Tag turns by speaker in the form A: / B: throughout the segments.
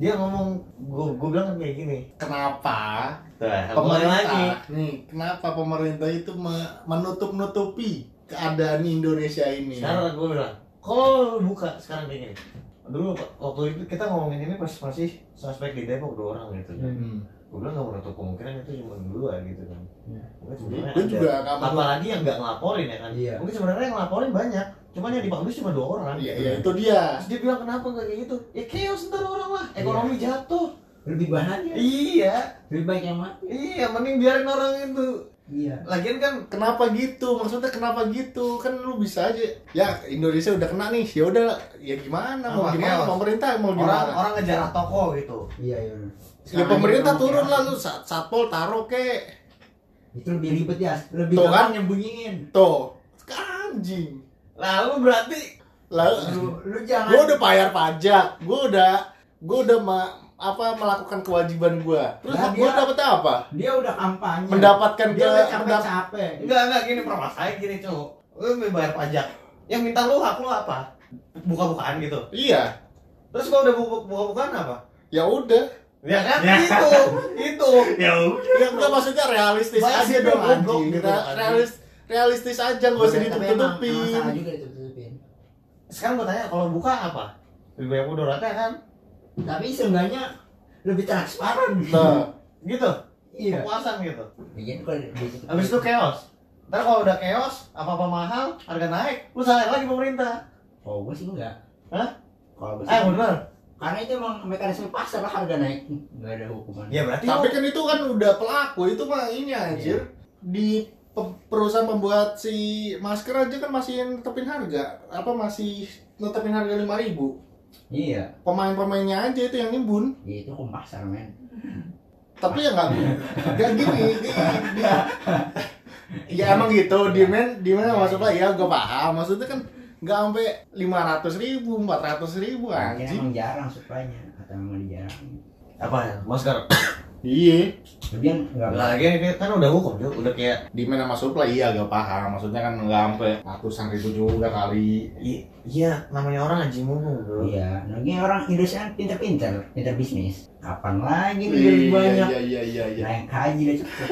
A: dia ngomong gua gua bilang kan kayak gini ah.
B: Kenapa
A: Tuh, mulai
B: pemerintah nih kenapa pemerintah itu me- menutup-nutupi keadaan Indonesia ini?
A: sekarang gue bilang kalau lu buka sekarang kayak gini dulu waktu itu kita ngomongin ini pas masih suspek di Depok dua orang gitu kan
B: Hmm.
A: gue bilang nggak menutup kemungkinan itu cuma dua gitu kan
C: Iya.
A: mungkin sebenarnya
B: Gue
A: ada.
B: juga nggak mau.
A: apalagi yang nggak ngelaporin ya kan
C: Iya.
A: mungkin sebenarnya yang ngelaporin banyak cuman yang dipublish cuma dua orang
B: Iya, iya itu dia.
A: Terus dia bilang kenapa nggak kayak gitu ya chaos ntar orang lah ekonomi jatuh
C: lebih bahaya
A: iya
C: lebih baik yang mati
A: iya mending biarin orang itu
C: iya
A: lagian kan
B: Kenapa gitu? Maksudnya kenapa gitu? Kan lu bisa aja. Ya Indonesia udah kena nih. Ya udah. Ya gimana? Mau
A: Sama
B: gimana?
A: chaos.
B: Pemerintah mau
A: orang
B: gimana?
A: orang ngejarah toko gitu
C: iya iya
B: Ya
A: Sekarang
B: pemerintah
A: ini
B: turun
A: orang
B: lah lu sat- satpol taruh ke
C: itu lebih ribet ya lebih
B: Tuh kan
C: gampang nyembunyiin
B: Tuh, anjing.
A: lalu berarti
B: Lalu
C: lu, lu jangan
B: gua udah bayar pajak, gua udah gua udah ma- apa melakukan kewajiban gua. Terus
C: Nah,
B: gua
C: dia-
B: dapat apa?
C: dia udah kampanye
B: Mendapatkan ke
C: dia udah
B: mendap-
C: capek-capek
A: Enggak, enggak gini permasalahannya gini, Cuk. Lu bayar pajak. Yang minta lu hak lu apa? Buka-bukaan gitu.
B: Iya,
A: Terus kalau udah buka- buka-bukaan apa?
B: ya udah.
A: Ya kan
C: Ya.
A: itu, itu.
C: ya
B: Ya enggak maksudnya realistis
A: Bayar
B: aja
A: sih,
B: dong
A: goblok
B: anjing.
A: gitu,
B: Re-
A: anjing.
B: realis realistis aja gak usah
C: Iya,
B: ditutup-tutupin.
C: salah juga ditutup-tutupin
A: Sekarang gua tanya kalau buka apa? Lebih banyak mudaratnya kan?
C: tapi seenggaknya lebih transparan
B: Nah,
A: Gitu.
C: iya
A: Kepuasan gitu.
C: bikin kalau ditutup-
A: Habis itu chaos. Ntar kalau udah chaos, apa-apa mahal, harga naik, lu salah lagi pemerintah.
C: kalau gue sih enggak
A: Hah?
C: kalau gue sih
A: Eh, bener.
C: karena itu emang mekanisme pasar lah harga naik nggak ada hukuman
A: Ya berarti
B: tapi
A: lu-
B: kan itu kan udah pelaku, itu mah
C: Iya.
B: ini anjir. Di pe- perusahaan pembuat si masker aja kan masih netepin harga apa masih netepin harga 5000
C: iya
B: pemain-pemainnya aja itu yang nimbun
C: ya itu hukum pasar men
B: tapi ya nggak nggak gini di- di- ya emang gitu demand demand
C: Iya,
B: maksud lah ya gue paham maksudnya kan nggak sampai lima ratus ribu empat ratus ribu
C: mungkin
B: anjing
C: Nah, emang jarang supply-nya atau emang dijarang
A: apa ya? Masker.
B: iya
C: kemudian nggak
A: Lagi ini kan udah hukum, Cuk. Udah kayak
B: demand sama supply iya gue paham maksudnya kan nggak sampai ratusan ribu juga kali
A: i- iya namanya orang anjing mulu, Bro.
C: Iya, lagi orang Indonesia kan pinter-pinter, pinter bisnis. Kapan lagi nih
B: iya
C: lebih banyak?
B: iya iya iya iya
C: Naik haji dah cepet.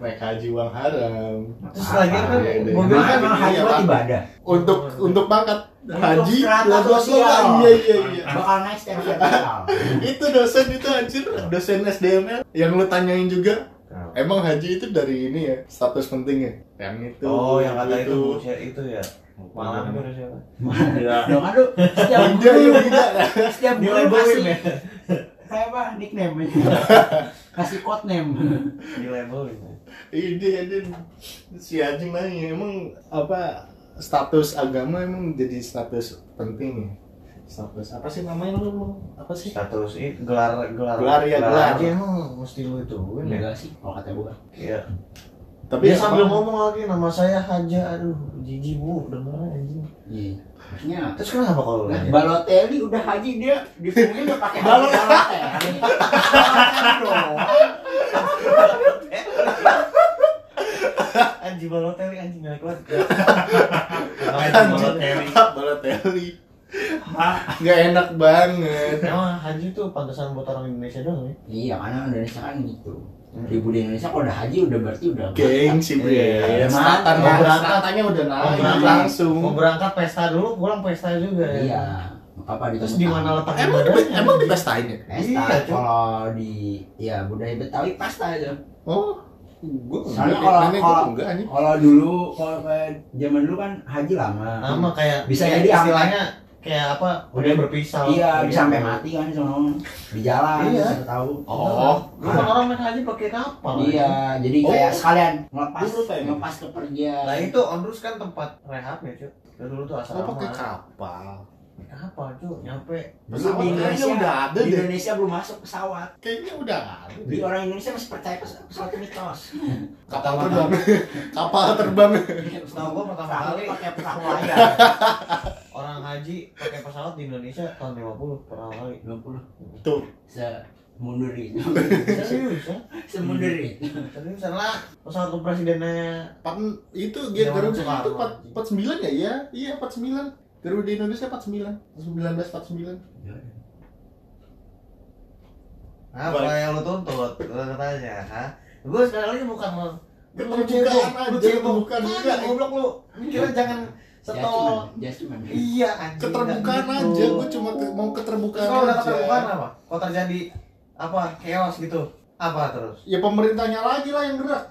B: naik haji uang haram
A: Terus lagi kan
B: Iya,
A: gua
B: iya.
C: mobil
A: bilang
C: kan
A: kan
C: emang haji
B: iya,
C: buat
B: Pak.
C: ibadah.
B: untuk untuk pangkat haji
C: strata
B: lah, gua-
C: sosial.
B: iya iya iya
C: Bakal naik secara vertikal.
B: itu dosen itu anjir dosen SDML yang lu tanyain juga
A: Kenapa?
B: emang haji itu dari ini ya status penting ya yang itu gitu.
A: oh, yang kata itu Bu, ya, itu ya. Malam itu siapa?
B: Iya.
A: Ya.
C: Dong kan lu setiap
B: Binda
C: guru,
B: ya binda
C: setiap guru
A: Dilabelin
C: kasih
A: ya.
C: kayak apa nickname aja. Kasih code name.
A: Dilabelin. ya.
B: ini ini Iya, si anjing nanya emang apa status agama emang jadi status penting ya status apa sih namanya lu apa sih
A: Status Nah, i- gelar gelar.
B: Gelar, ya, gelar.
A: aja emang mesti lu itu.
B: Iya.
A: Ya.
C: Enggak sih, kalau kata gua.
A: Iya.
B: tapi
A: Dia
B: ya,
A: sambil
B: apa?
A: ngomong lagi nama saya Haja. Aduh, jijik Bu, dengar anjing.
C: Iya. Maksudnya
A: Terus kenapa kalau lu?
C: Nah,
B: Iya.
A: nanya?
C: Balotelli udah haji dia dipungin udah pakai haji Balotelli. Balotelli dong.
A: Anjing Balotelli anjing naik kelas. Anjing Balotelli.
B: anjing Balotelli nggak enak banget
A: Emang Haji tuh pantesan buat orang Indonesia doang ya.
C: Iya, karena Indonesia kan gitu. Ibu di Indonesia kalau udah haji udah berarti udah
B: geng sih bre
A: Iya,
B: Selatan
A: mau
B: lah.
A: berangkat.
B: Selatannya udah naik
A: berangkat.
B: langsung
A: Mau berangkat pesta dulu, pulang pesta juga ya.
C: Iya. Apa di
A: Terus di mana letak
B: Emang di,
A: ibadahnya?
B: emang dipestain ya?
C: Pesta,
A: Iya, cuy.
C: kalau di ya budaya Betawi pasta aja.
B: Oh, gua
C: Soalnya
B: enggak.
C: kalau-
B: Nenek gua
C: kalau-
B: enggak anjing.
C: Kalau dulu, kalau kayak zaman dulu kan haji lama.
A: sama kayak
C: Bisa
A: kayak
C: jadi
A: istilahnya kayak apa udah berpisah
C: Iya, bisa sampai mati kan sono di jalan,
A: Iya.
C: iya. tahu.
B: Oh,
A: lu kan orang naik haji pakai kapal
C: Iya, jadi
B: Oh.
C: kayak sekalian ngelepas
B: Dulu kayak gitu.
C: ngelepas kepergian.
A: nah itu Ondrus kan tempat rehab ya cuy dari dulu tuh
B: Gua
A: asrama
B: pakai kapal.
A: kapal cuy nyampe
C: Belum
B: Pesawat
C: di
B: kayaknya
C: Indonesia.
B: udah ada
C: Di
B: deh.
C: Indonesia belum masuk pesawat.
B: Kayaknya udah ada
C: Di
B: deh.
C: orang Indonesia masih percaya pes- pesawat itu mitos.
B: Kapal terbang. kapal terbang.
A: Setahu gua pertama
C: Perahu
A: kali.
C: pakai perahu layar.
A: orang haji pakai pesawat di Indonesia tahun 50 pertama kali
C: 20
B: Tuh,
C: se mundur itu.
A: serius ya
C: Semundur itu.
A: seriusan lah pesawat tuh presidennya
B: pan- itu dia
A: Zaman
B: Garuda
A: Soekarno,
B: itu 4, 49 ya? Iya, iya 49. Garuda Indonesia 49. 1949.
A: Apa
C: Balik.
A: yang Nah, lu tuntut? Lu katanya, hah? Gue sekali lagi bukan lu. Lu
B: Keterbukaan
A: cebong, lu
B: aja,
A: cebong.
B: bukan
A: Mana
B: enggak.
A: Goblok lu. Mikirnya jangan setol.
C: Judgment. judgment.
A: Iya anjing.
B: keterbukaan
A: enggak
B: aja
A: gitu.
B: gue cuma ke- mau keterbukaan
A: Terus Kalau udah
B: aja.
A: keterbukaan apa? Kalau terjadi apa? Chaos gitu. Apa terus?
B: ya pemerintahnya lagi lah yang gerak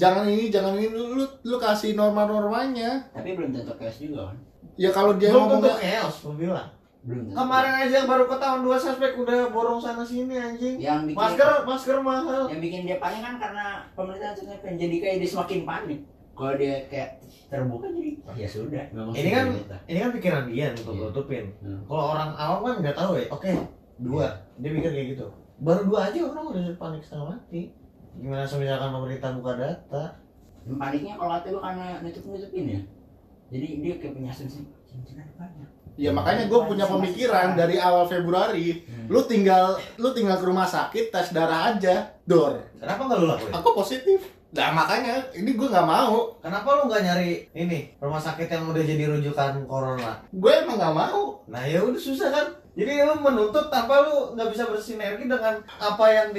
B: jangan ini jangan ini lu lu, lu kasih norma normanya
C: Tapi belum tentu chaos juga kan.
B: ya kalau dia
A: Belum tentu
B: ngomongnya
A: chaos, gue bilang.
C: Belum tentu.
A: Kemarin aja baru ke tahun 2 suspek udah borong sana sini anjing.
C: yang bikin
A: Masker, masker mahal.
C: yang bikin dia panik kan karena pemerintah itu pengen jadi kayak dia semakin panik. Kalau dia kayak terbuka jadi "Ah, ya sudah. memang
A: Ini kan-
C: pemerintah."
A: Ini kan pikiran dia untuk
C: Iya. Iya.
A: nutupin.
C: Hmm.
A: Kalau orang awam kan nggak tahu ya. Oke, dua. Dia mikir kayak gitu. Baru dua aja orang udah panik setengah mati. Gimana misalkan pemerintah buka data?
C: Dan paniknya kalau hati lu karena nutup nutupin ya. Jadi dia kayak punya asumsi cincin ada banyak.
B: ya makanya gue punya pemikiran dari awal Februari lu tinggal lu tinggal ke rumah sakit tes darah aja dor
A: Kenapa nggak lu lakuin?
B: aku positif nah makanya ini gue nggak mau
A: Kenapa lu nggak nyari ini rumah sakit yang udah jadi rujukan corona?
B: gue emang nggak mau
A: Nah ya udah susah kan. Jadi lu menuntut tanpa lu nggak bisa bersinergi dengan apa yang
C: Lu-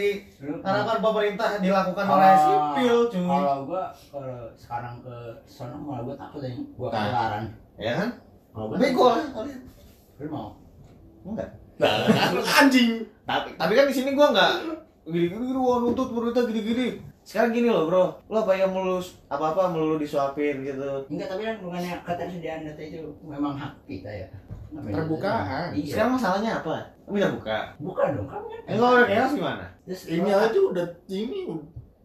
A: diharapkan pemerintah dilakukan oleh
C: Kalau-
A: sipil cuy.
C: kalau gua kalau sekarang ke sono malah gua takut ya gua
B: Nah.
C: ketularan
A: Ya kan?
C: kalau gua
A: Bego lah kalian.
C: lu mau
A: Enggak.
B: nah, anjing
A: Tapi tapi kan di sini gua nggak gini-gini gini, wah nuntut pemerintah gini-gini. Sekarang gini loh bro, lo apa yang melulus apa-apa melulu disuapin gitu.
C: enggak tapi kan bukannya ketersediaan data itu memang hak kita ya Namanya
B: Terbukaan.
C: data. iya
A: Sekarang masalahnya apa? Lo bisa buka.
C: bukan dong kamu kan
B: Iya.
A: Eh kalau udah chaos gimana?
C: Terus
B: ya. ini
C: gua-
B: aja udah ini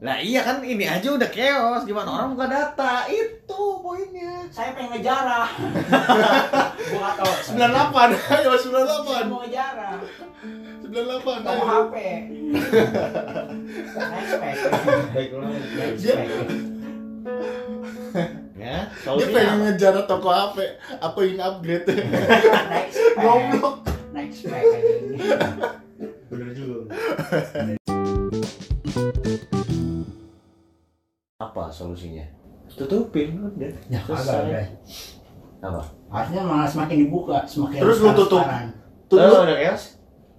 A: Lah iya kan ini aja udah chaos, gimana orang buka data? Itu poinnya.
C: saya pengen ngejarah gua nggak tahu
B: 98 ayo
C: Saya
B: 98
C: mau ngejarah
B: 98
C: nggak
B: ayo.
C: mau HP Next pack.
A: Baik lo.
C: Next
B: Dia-
C: pack.
A: Ya,
B: dia
A: solusinya
B: pengen
A: apa?
B: ngejar toko HP aku ingin upgrade
C: Next pack.
B: goblok
C: Next pack anjing.
A: Bener juga. apa solusinya? Tutupin udah.
C: Ya,
A: Selesai.
C: kagak ada.
A: Apa?
C: Harusnya malah semakin dibuka, semakin
B: Terus lu tutup.
C: transparan.
B: Tuh,
A: Lo
B: lu-
A: udah chaos?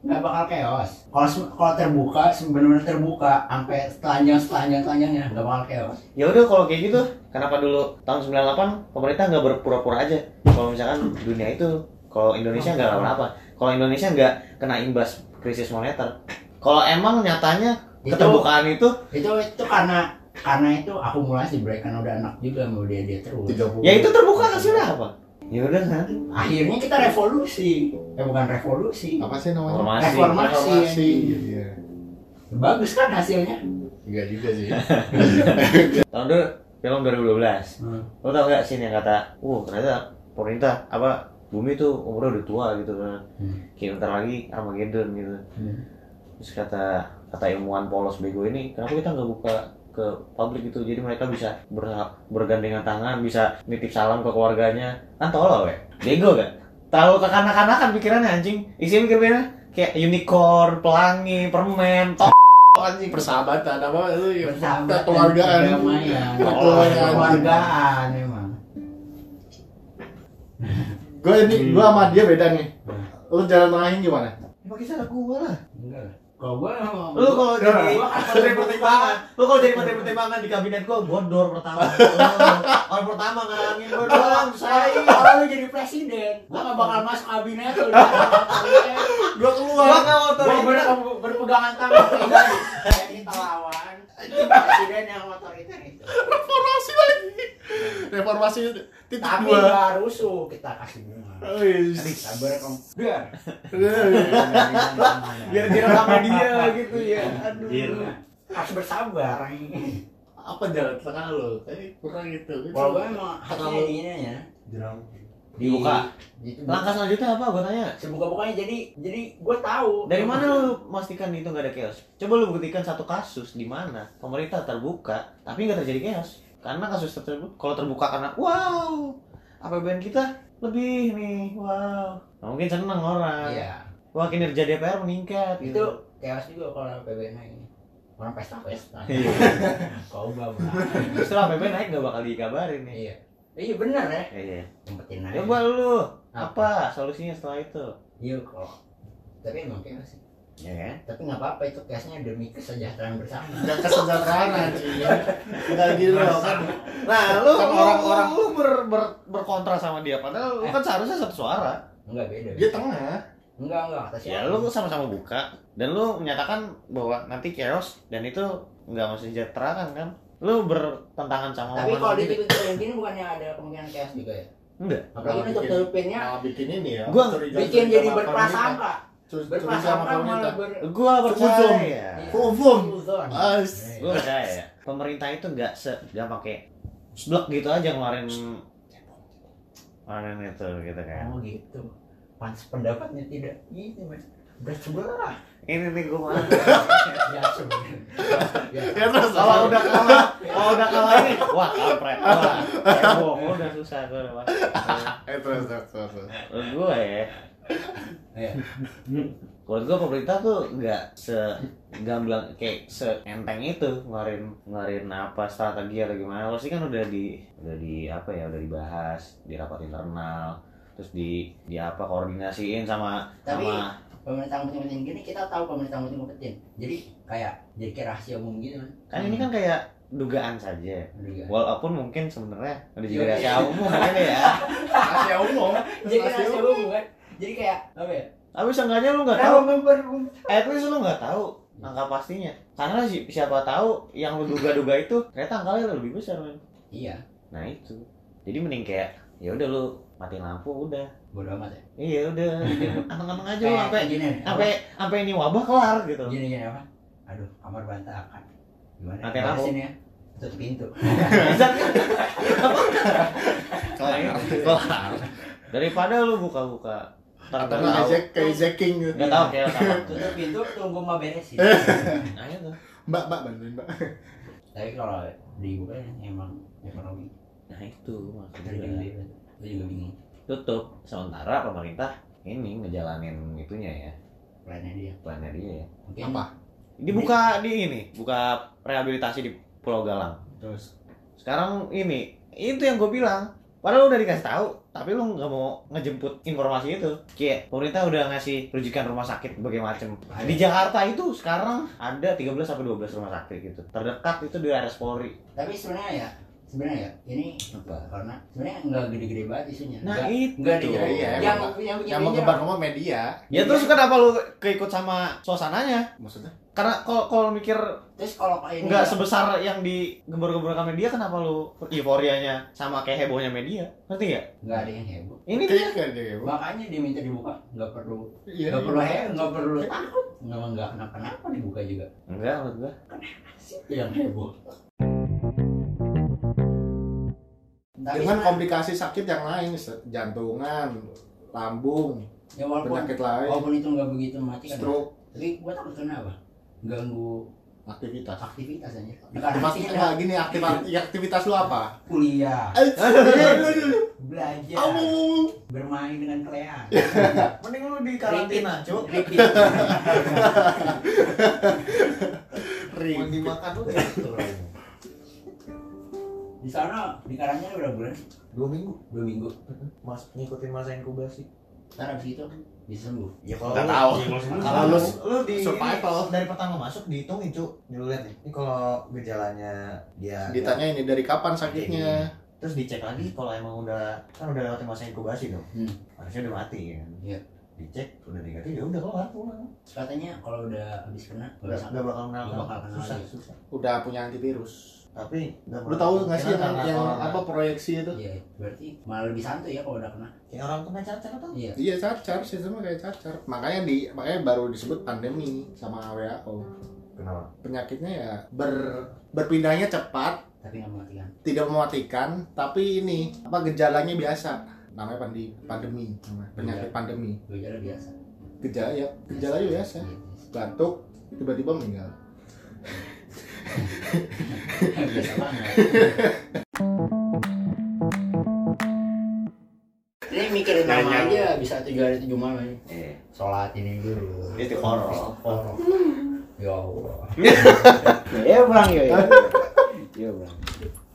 C: Nggak bakal chaos. Kalau sem- kalau terbuka, sebenarnya terbuka, sampai telanjang telanjang telanjangnya nggak bakal chaos.
A: Ya udah kalau kayak gitu, kenapa dulu tahun 98 pemerintah nggak berpura-pura aja? Kalau misalkan dunia itu, kalau Indonesia nggak apa-apa. Kalau Indonesia nggak kena imbas krisis moneter. Kalau emang nyatanya
C: Itu-
A: keterbukaan itu
C: Itu itu karena karena itu akumulasi, Bray kan udah enak juga mau dia dia terus.
B: 30.
A: Ya itu terbuka hasilnya apa? Ya udah kan.
C: Akhirnya kita revolusi, eh bukan revolusi,
B: apa sih namanya?
A: Informasi.
C: reformasi.
B: Iya.
C: Bagus kan hasilnya?
B: Enggak juga sih.
A: Tahun dulu film 2012.
C: Hmm.
A: Lo tau gak sih yang kata, "Uh, ternyata pemerintah apa bumi tuh umurnya udah tua gitu kan.
C: Hmm.
A: Kayak bentar lagi Armageddon gitu." Terus kata kata ilmuwan polos bego ini, "Kenapa kita nggak buka ke publik itu jadi mereka bisa berha- bergandengan tangan bisa nitip salam ke keluarganya kan tolol ya bego kan terlalu kekanak-kanakan pikirannya anjing isinya pikirannya kayak unicorn pelangi permen to anjing
B: Persahabatan apa lu ya?
C: Persahabatan,
B: Kekeluargaan.
C: perdamaian,
B: Kekeluargaan.
C: kekeluargaan memang.
B: Gue ini gue sama dia beda nih. Lu jalan tengahnya gimana?
A: Ya, pakai cara gua lah.
C: Enggak lah. Kalau gua emang- kan
A: Lu kalau
C: Enggak
A: jadi
C: lah.
A: menteri pertimbangan, lu kalau jadi menteri pertimbangan di kabinet gua gondor pertama. Lu, Orang pertama ngalangin gua doang,
C: Saya
A: saya.
C: kalau lu jadi presiden, gua gak bakal masuk kabinet lu. Gua
A: Gua
B: Gue keluar.
A: enggak
C: ber-
A: otoriter.
C: berpegangan tangan dengan yang kita lawan presiden yang otoriter itu.
B: Reformasi lagi. Reformasi titik
C: Tapi
B: dua.
C: gak rusuh, kita kasih bunga.
B: Wis.
C: Sabar kamu. Biar.
A: Biar direm sama dia gitu ya. Aduh.
C: Biar. Harus bersabar.
B: Apa jalan tengah lu? Eh kurang gitu.
C: Kalau gua emang harusnya di ini ya. Di-
A: Dibuka.
C: Gitu.
A: Langkah selanjutnya apa gua tanya?
C: Sebuka-bukanya jadi jadi gua tahu.
A: Dari mana lu memastikan itu nggak ada chaos? Coba lu buktikan satu kasus di mana pemerintah terbuka tapi nggak terjadi chaos. Karena kasus tersebut kalau terbuka karena wow APBN kita lebih nih wow. Nah, mungkin seneng orang.
C: Iya.
A: Wah kinerja DPR meningkat
C: itu
A: gitu.
C: chaos juga kalau PBN ini orang pesta pesta kau bawa
A: Justru APBN naik nggak bakal dikabarin nih.
C: iya iya benar ya
A: Iya. iya.
C: ngumpetin aja
A: Coba lu apa solusinya setelah itu?
C: iya kalau tapi emang chaos sih
A: ya kan?
C: Tapi nggak apa-apa itu cashnya demi kesejahteraan bersama.
B: Gak kesejahteraan anjing. Enggak gitu loh kan.
A: Nah, lu
B: Kan orang-orang-
A: orang-orang lu ber, ber, berkontra sama dia padahal lu kan seharusnya satu suara.
C: Enggak beda.
B: Dia tengah.
C: Enggak enggak kata siapa.
A: Ya lu sama-sama buka dan lu menyatakan bahwa nanti chaos dan itu nggak mau sejahterakan kan? Lu bertentangan sama gitu. omongan
C: Tapi kalau di
A: sendiri.
C: titik kayak gini bukannya ada kemungkinan cash juga ya?
A: Enggak.
C: Apalagi
B: Malah
C: nutup
B: bikin-
C: tutupinnya
B: Malah bikin ini ya.
A: Gua-
B: curiga-
C: bikin
B: curiga
C: jadi
B: sama
C: berprasangka.
B: pemerintah. Cur- Curiga sama
C: Berprasangka
B: pemerintah.
C: malah ber
A: Gua
B: Suzon.
C: Iya.
A: percaya.
B: Problem.
C: Suzon. Iya,
A: As, gua percaya. ya. Pemerintah itu nggak se nggak pakai seblek gitu aja ngeluarin ngeluarin itu gitu kan.
C: Oh gitu. Pans pendapatnya tidak ini mas. Berat sebelah.
A: Ini nih gua mau.
C: Ya sebelah.
B: Ya terus
A: Kalau
B: kalau
A: udah kalah, kalau udah kalah ini, wah kampret, wah, heboh, gua udah susah gua udah masuk.
B: eh terus terus terus. terus.
A: Menurut gue ya.
C: Iya.
A: Menurut gue pemerintah tuh nggak se gamblang kayak seenteng itu ngeluarin ngeluarin apa strategi atau gimana pasti kan udah di udah di apa ya udah dibahas di rapat internal terus di di apa koordinasiin sama
C: Tapi-
A: sama
C: Pemerintah ngutin-ngutin gini kita tahu pemerintah ngutin-ngutin. Jadi kayak jadi kayak rahasia umum gitu kan.
A: kan ini kan kayak dugaan saja
C: Juga.
A: walaupun mungkin sebenarnya udah
C: Iya.
A: jadi rahasia umum ini ya
B: Rahasia umum.
C: Jadi kayak rahasia umum kan. Jadi kayak apa ya?
A: tapi seenggaknya lu nggak tahu
C: Kenapa member
A: at least Eh, lu nggak tahu angka pastinya karena si- siapa tahu yang lu duga-duga itu ternyata angkanya lebih besar men
C: Iya,
A: Nah itu. Jadi mending kayak ya udah lu matiin lampu udah.
C: bodo amat ya.
A: Iya udah, aneng-aneng aja lu
C: Kayak
A: sampai
C: gini, Eh, apa? ya? Iya.
A: sampai sampai ini wabah kelar gitu.
C: Gini gini apa? Aduh, kamar berantakan. Gimana?
A: Nanti aku.
C: Beresin ya. Tutup pintu.
A: Kelar. Kelar. Daripada lu buka-buka
B: Atau
A: Ntar
B: nggak
A: nggak tahu-
B: hijack- kayak hijacking gitu.
A: nggak tahu kayak apa.
C: Tutup pintu tunggu mau beresin.
A: Nah itu.
B: Mbak, Mbak bantuin, Mbak.
C: Tapi kalau dibuka emang ekonomi
A: Nah itu maksudnya.
C: tergede. Gue juga bingung
A: Tutup sementara pemerintah ini ngejalanin itunya ya,
C: plannya dia.
A: plannya dia ya.
C: Mungkin
B: Apa?
A: Dibuka di ini, buka rehabilitasi di Pulau Galang.
B: Terus
A: sekarang ini itu yang gue bilang padahal udah dikasih tahu tapi lu nggak mau ngejemput informasi itu kayak pemerintah udah ngasih rujukan rumah sakit berbagai macam
B: Iya.
A: di Jakarta itu sekarang ada 13 sampai 12 rumah sakit gitu terdekat itu di RS Polri
C: Tapi sebenarnya ya, sebenarnya ya ini
A: Apa?
C: karena sebenarnya enggak gede-gede banget isunya.
A: nah
C: Enggak-
A: itu
C: enggak di
B: Iya, iya,
C: yang
B: emang,
C: yang
B: Pak.
C: yang
B: yang mau
C: nyebar.
B: kebar rumah media.
A: ya terus kenapa lu keikut sama suasananya
B: Maksudnya?
A: karena kalau kalau mikir
C: Terus kalau
B: Iya.
C: kayak ini ya,
A: nggak sebesar yang digembor-gemborkan media kenapa lu euforianya sama kayak hebohnya media ngerti nggak
C: enggak ada yang heboh.
A: ini dia
B: Kayak kayak dia, Bu.
C: Makanya dia minta dibuka, enggak perlu
B: Iya.
C: Gak
B: iya.
C: perlu heboh, gak perlu takut Gak, gak kenapa-kenapa dibuka juga
A: enggak menurut gue
C: Siapa yang heboh? Tapi
B: Dengan
C: sebenarnya-
B: komplikasi sakit yang lain, se- jantungan, lambung,
C: ya walaupun,
B: penyakit lain,
C: walaupun itu gak begitu mati kan
B: stroke,
C: Tapi gue takut kenapa? Ganggu
B: aktivitas.
C: aktivitas aja
B: Aktivitas
C: Karena
B: enggak gini aktivitas aktivitas lu apa?
C: kuliah,
B: Aduh, Iya.
C: belajar,
B: aduh.
C: bermain dengan kelean
A: mending lu di
C: Cuk
A: Mau
B: Ribet.
A: dimakan gitu. tuh jatuh
C: Di sana, di karangnya udah bulan?
A: Dua minggu
C: Dua minggu
A: Mas, ngikutin masa inkubasi
C: Ntar abis itu bisa sembuh
A: Ya
B: Nggak iya, tahu. Kalau lu
A: lu di
B: survival.
A: ini, dari pertama masuk dihitungin cu Dulu lihat nih Ini kalau gejalanya dia
B: Ditanya ini dari kapan sakitnya?
A: Terus dicek lagi kalau emang udah Kan udah lewatin masa inkubasi tuh
C: Hmm.
A: Harusnya udah mati kan
C: Iya.
A: Dicek udah negatif ya udah keluar pulang
C: Katanya kalau udah habis kena, nggak
A: Gak,
C: bisa
A: gak bakal kenal
C: Nggak bakal kenal
A: Susah
C: lagi.
A: susah
B: Udah punya antivirus. Oh,
A: Tapi gak
B: Lu tahu nggak sih yang,
A: Karena
B: yang
A: corona.
B: apa proyeksi itu?
C: Iya, berarti malah lebih santuy ya kalau udah kena.
A: Kayak orang kena cacar tuh
C: Iya.
B: Iya cacar, sistemnya kayak cacar. Makanya di makanya baru disebut pandemi sama WHO.
A: Kenapa?
B: Penyakitnya ya ber berpindahnya cepat,
C: Tapi nggak mematikan.
B: tidak mematikan, tapi ini apa gejalanya biasa. Namanya pandi, pandemi, namanya. penyakit pandemi.
C: Gejala biasa.
B: Gejala ya, gejalanya biasa. Batuk, tiba-tiba meninggal.
C: Iya, biasa banget. Ini mikirin nama aja bisa tujuh hari tujuh malam ini.
A: Iya
C: Sholat ini dulu.
A: Itu horor
C: Horor. Ya Allah.
A: Ya pulang ya Iya pulang